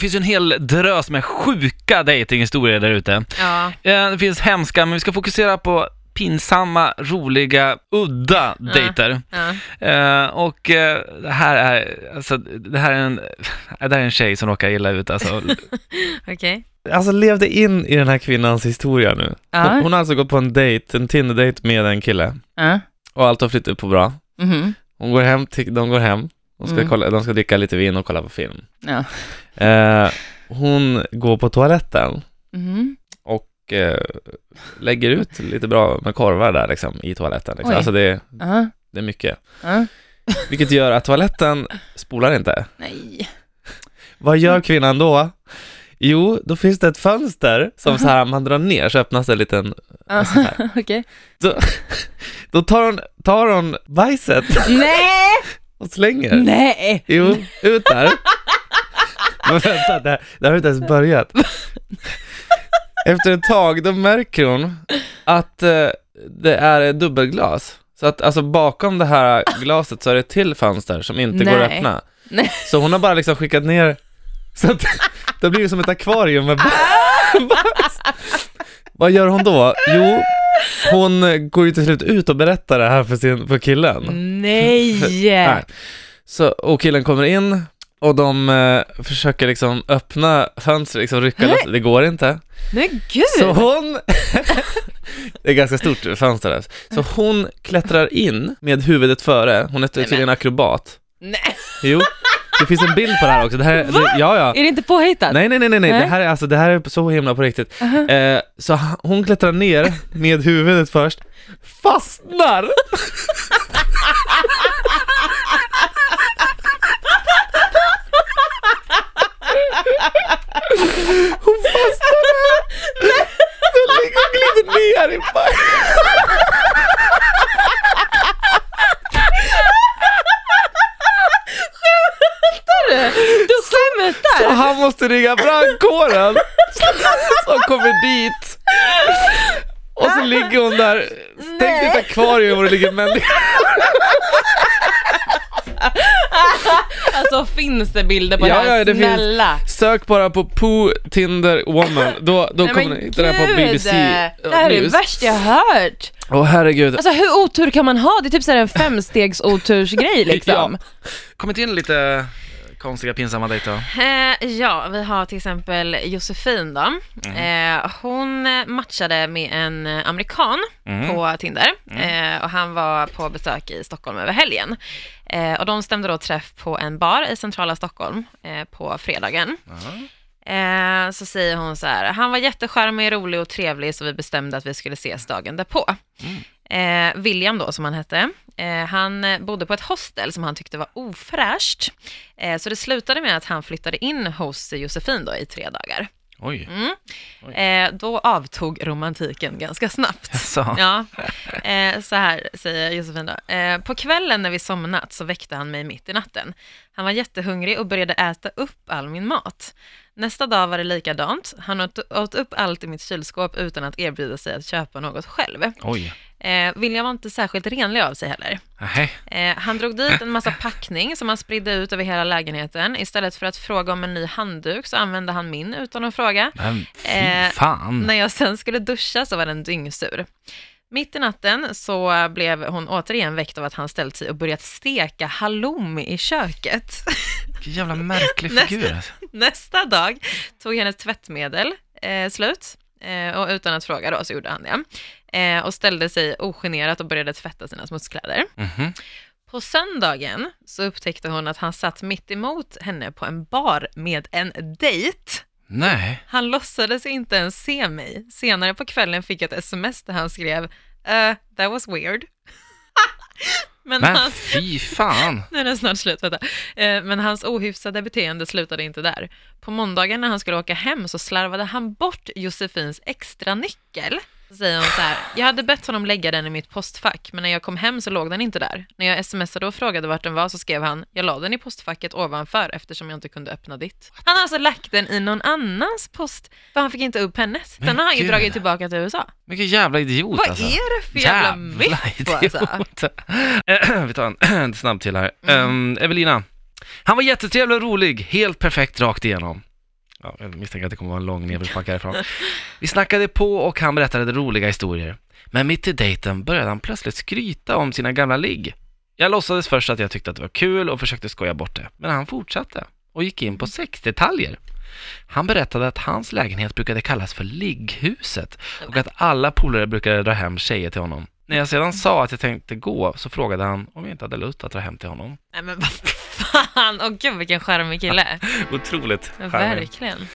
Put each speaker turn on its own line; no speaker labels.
finns ju en hel drös med sjuka datinghistorier där ute.
Ja.
Eh, Det finns hemska, men vi ska fokusera på pinsamma, roliga, udda dejter.
Ja.
Eh, och eh, det här är, alltså, det här är en, det här är en tjej som råkar illa ut alltså.
Okej.
Alltså levde in i den här kvinnans historia nu.
Ja.
Hon, hon har alltså gått på en dejt, en Tinder-dejt med en kille.
Ja.
Och allt har flyttat upp på bra.
Mhm.
Hon går hem, till, de går hem. De ska,
Mm.
kolla, de ska dricka lite vin och kolla på film.
Ja.
Eh, hon går på toaletten
Mhm.
och eh, lägger ut lite bra med korvar där liksom, i toaletten. Liksom.
Oj.
Alltså det,
Ja.
det är mycket.
Ja.
Vilket gör att toaletten spolar inte.
Nej.
Vad gör kvinnan då? Jo, då finns det ett fönster som så här, man drar ner så öppnas det en liten...
Ja.
Så här.
Okej.
Då tar hon, tar hon bajset
Nej!
och slänger.
Nej!
Jo, ut där. Mm. Men vänta, det, här- det här har inte ens börjat. Efter ett tag, då märker hon att eh, det är dubbelglas. Så att alltså bakom det här glaset så är det ett till fönster som inte går att
Nej.
öppna.
Nej.
Så hon har bara liksom skickat ner, så att det blir som ett akvarium med bajs. Vad gör hon då? Jo, hon eh, går ju till slut ut och berättar det här för, sin, för killen.
Nej!
Mm. Nej. Så, och killen kommer in och de eh, försöker liksom öppna fönstret, liksom rycka loss, det går inte.
Men gud!
Så hon, det är ganska stort fönster där, så hon klättrar in med huvudet före, hon är tydligen akrobat.
Nej.
Jo, det finns en bild på det här också. Det här, det, ja, ja.
Är det inte påhittat?
Nej, nej, nej, nej, nej, det
Nej.
här är alltså, det här är så himla på riktigt. Eh, så h- hon klättrar ner med huvudet först, fastnar! Hon fastnar! Den ligger och glider ner i backen!
Du skämtar!
Och han måste ringa brandkåren som kommer dit. Och så ligger hon där, stängt i ett akvarium och det ligger en människa
Alltså finns det bilder på
Ja,
det här?
ja, det finns.
Snälla!
Sök bara på Poo Tinder Woman, då, då
Nej,
kommer
men
ni hitta det här på
gud.
BBC
Det här är det
News.
värsta jag har hört!
Åh herregud.
Alltså hur otur kan man ha? Det är typ såhär en femstegs-otursgrej liksom.
Alltså-
Kommit in lite eh, konstiga, pinsamma dejter.
Eh, ja, vi har till exempel Josefin då. Eh, hon eh, matchade med en eh, amerikan på Tinder eh, och han var på besök i Stockholm över helgen. Eh, och de stämde då träff på en bar i centrala Stockholm eh, på fredagen. Eh, så säger hon så här, han var jättecharmig, rolig och trevlig så vi bestämde att vi skulle ses dagen därpå. Eh, William då, som han hette, eh, han eh, bodde på ett hostel som han tyckte var ofräscht. Eh, så det slutade med att han flyttade in hos Josefin då i tre dagar.
Oj.
Mm. Eh, då avtog romantiken ganska snabbt.
Så.
Ja, eh, så här säger Josefin då. Eh, på kvällen när vi somnat så väckte han mig mitt i natten. Han var jättehungrig och började äta upp all min mat. Nästa dag var det likadant. Han åt, åt upp allt i mitt kylskåp utan att erbjuda sig att köpa något själv.
Oj.
Eh, William var inte särskilt renlig av sig heller.
Nej.
Eh, han drog dit en massa packning som han spridde ut över hela lägenheten. Istället för att fråga om en ny handduk så använde han min utan att fråga.
Mm.
Men fy
Eh,
fan.
När jag sen skulle duscha så var den dyngsur. Mitt i natten så blev hon återigen väckt av att han ställt sig och börjat steka halloumi i köket.
Vilken jävla märklig
Nästa-
figur. alltså.
Nästa dag tog hennes tvättmedel eh, slut eh, och utan att fråga då så gjorde han det. Eh, och ställde sig ogenerat och började tvätta sina smutskläder.
Mhm.
På söndagen så upptäckte hon att han satt mitt emot henne på en bar med en dejt.
Nej.
Han låtsades inte ens se mig. Senare på kvällen fick jag ett sms där han skrev uh, “That was weird”. Men,
Men
han,
fy fan.
nu är det snart slut, vänta. Eh, Men hans ohyfsade beteende slutade inte där. På måndagen när han skulle åka hem så slarvade han bort Josefins extra nyckel. Så säger hon så här, jag hade bett honom lägga den i mitt postfack, men när jag kom hem så låg den inte där. När jag smsade och frågade vart den var så skrev han, jag la den i postfacket ovanför eftersom jag inte kunde öppna ditt. Han har alltså lagt den i någon annans post, för han fick inte upp hennes.
Men
Den har han ju
gud.
dragit tillbaka till USA.
Vilken jävla idiot
Vad
alltså.
är det för jävla miff alltså?
idiot. Eh, Vi tar en, en snabb till här. Ehm, Evelina. Han var jättetrevlig och rolig, helt perfekt rakt igenom.
Ja, jag misstänker att det kommer vara en lång nedförsbacke härifrån. Vi snackade på och han berättade roliga historier. Men mitt i dejten började han plötsligt skryta om sina gamla ligg. Jag låtsades först att jag tyckte att det var kul och försökte skoja bort det, men han fortsatte och gick in på sexdetaljer. Han berättade att hans lägenhet brukade kallas för ligghuset och att alla polare brukade dra hem tjejer till honom. När jag sedan sa att jag tänkte gå så frågade han om jag inte hade lust att dra hem till honom.
Nej men vad fan, åh gud vilken charmig kille.
Otroligt. charmig.
Verkligen.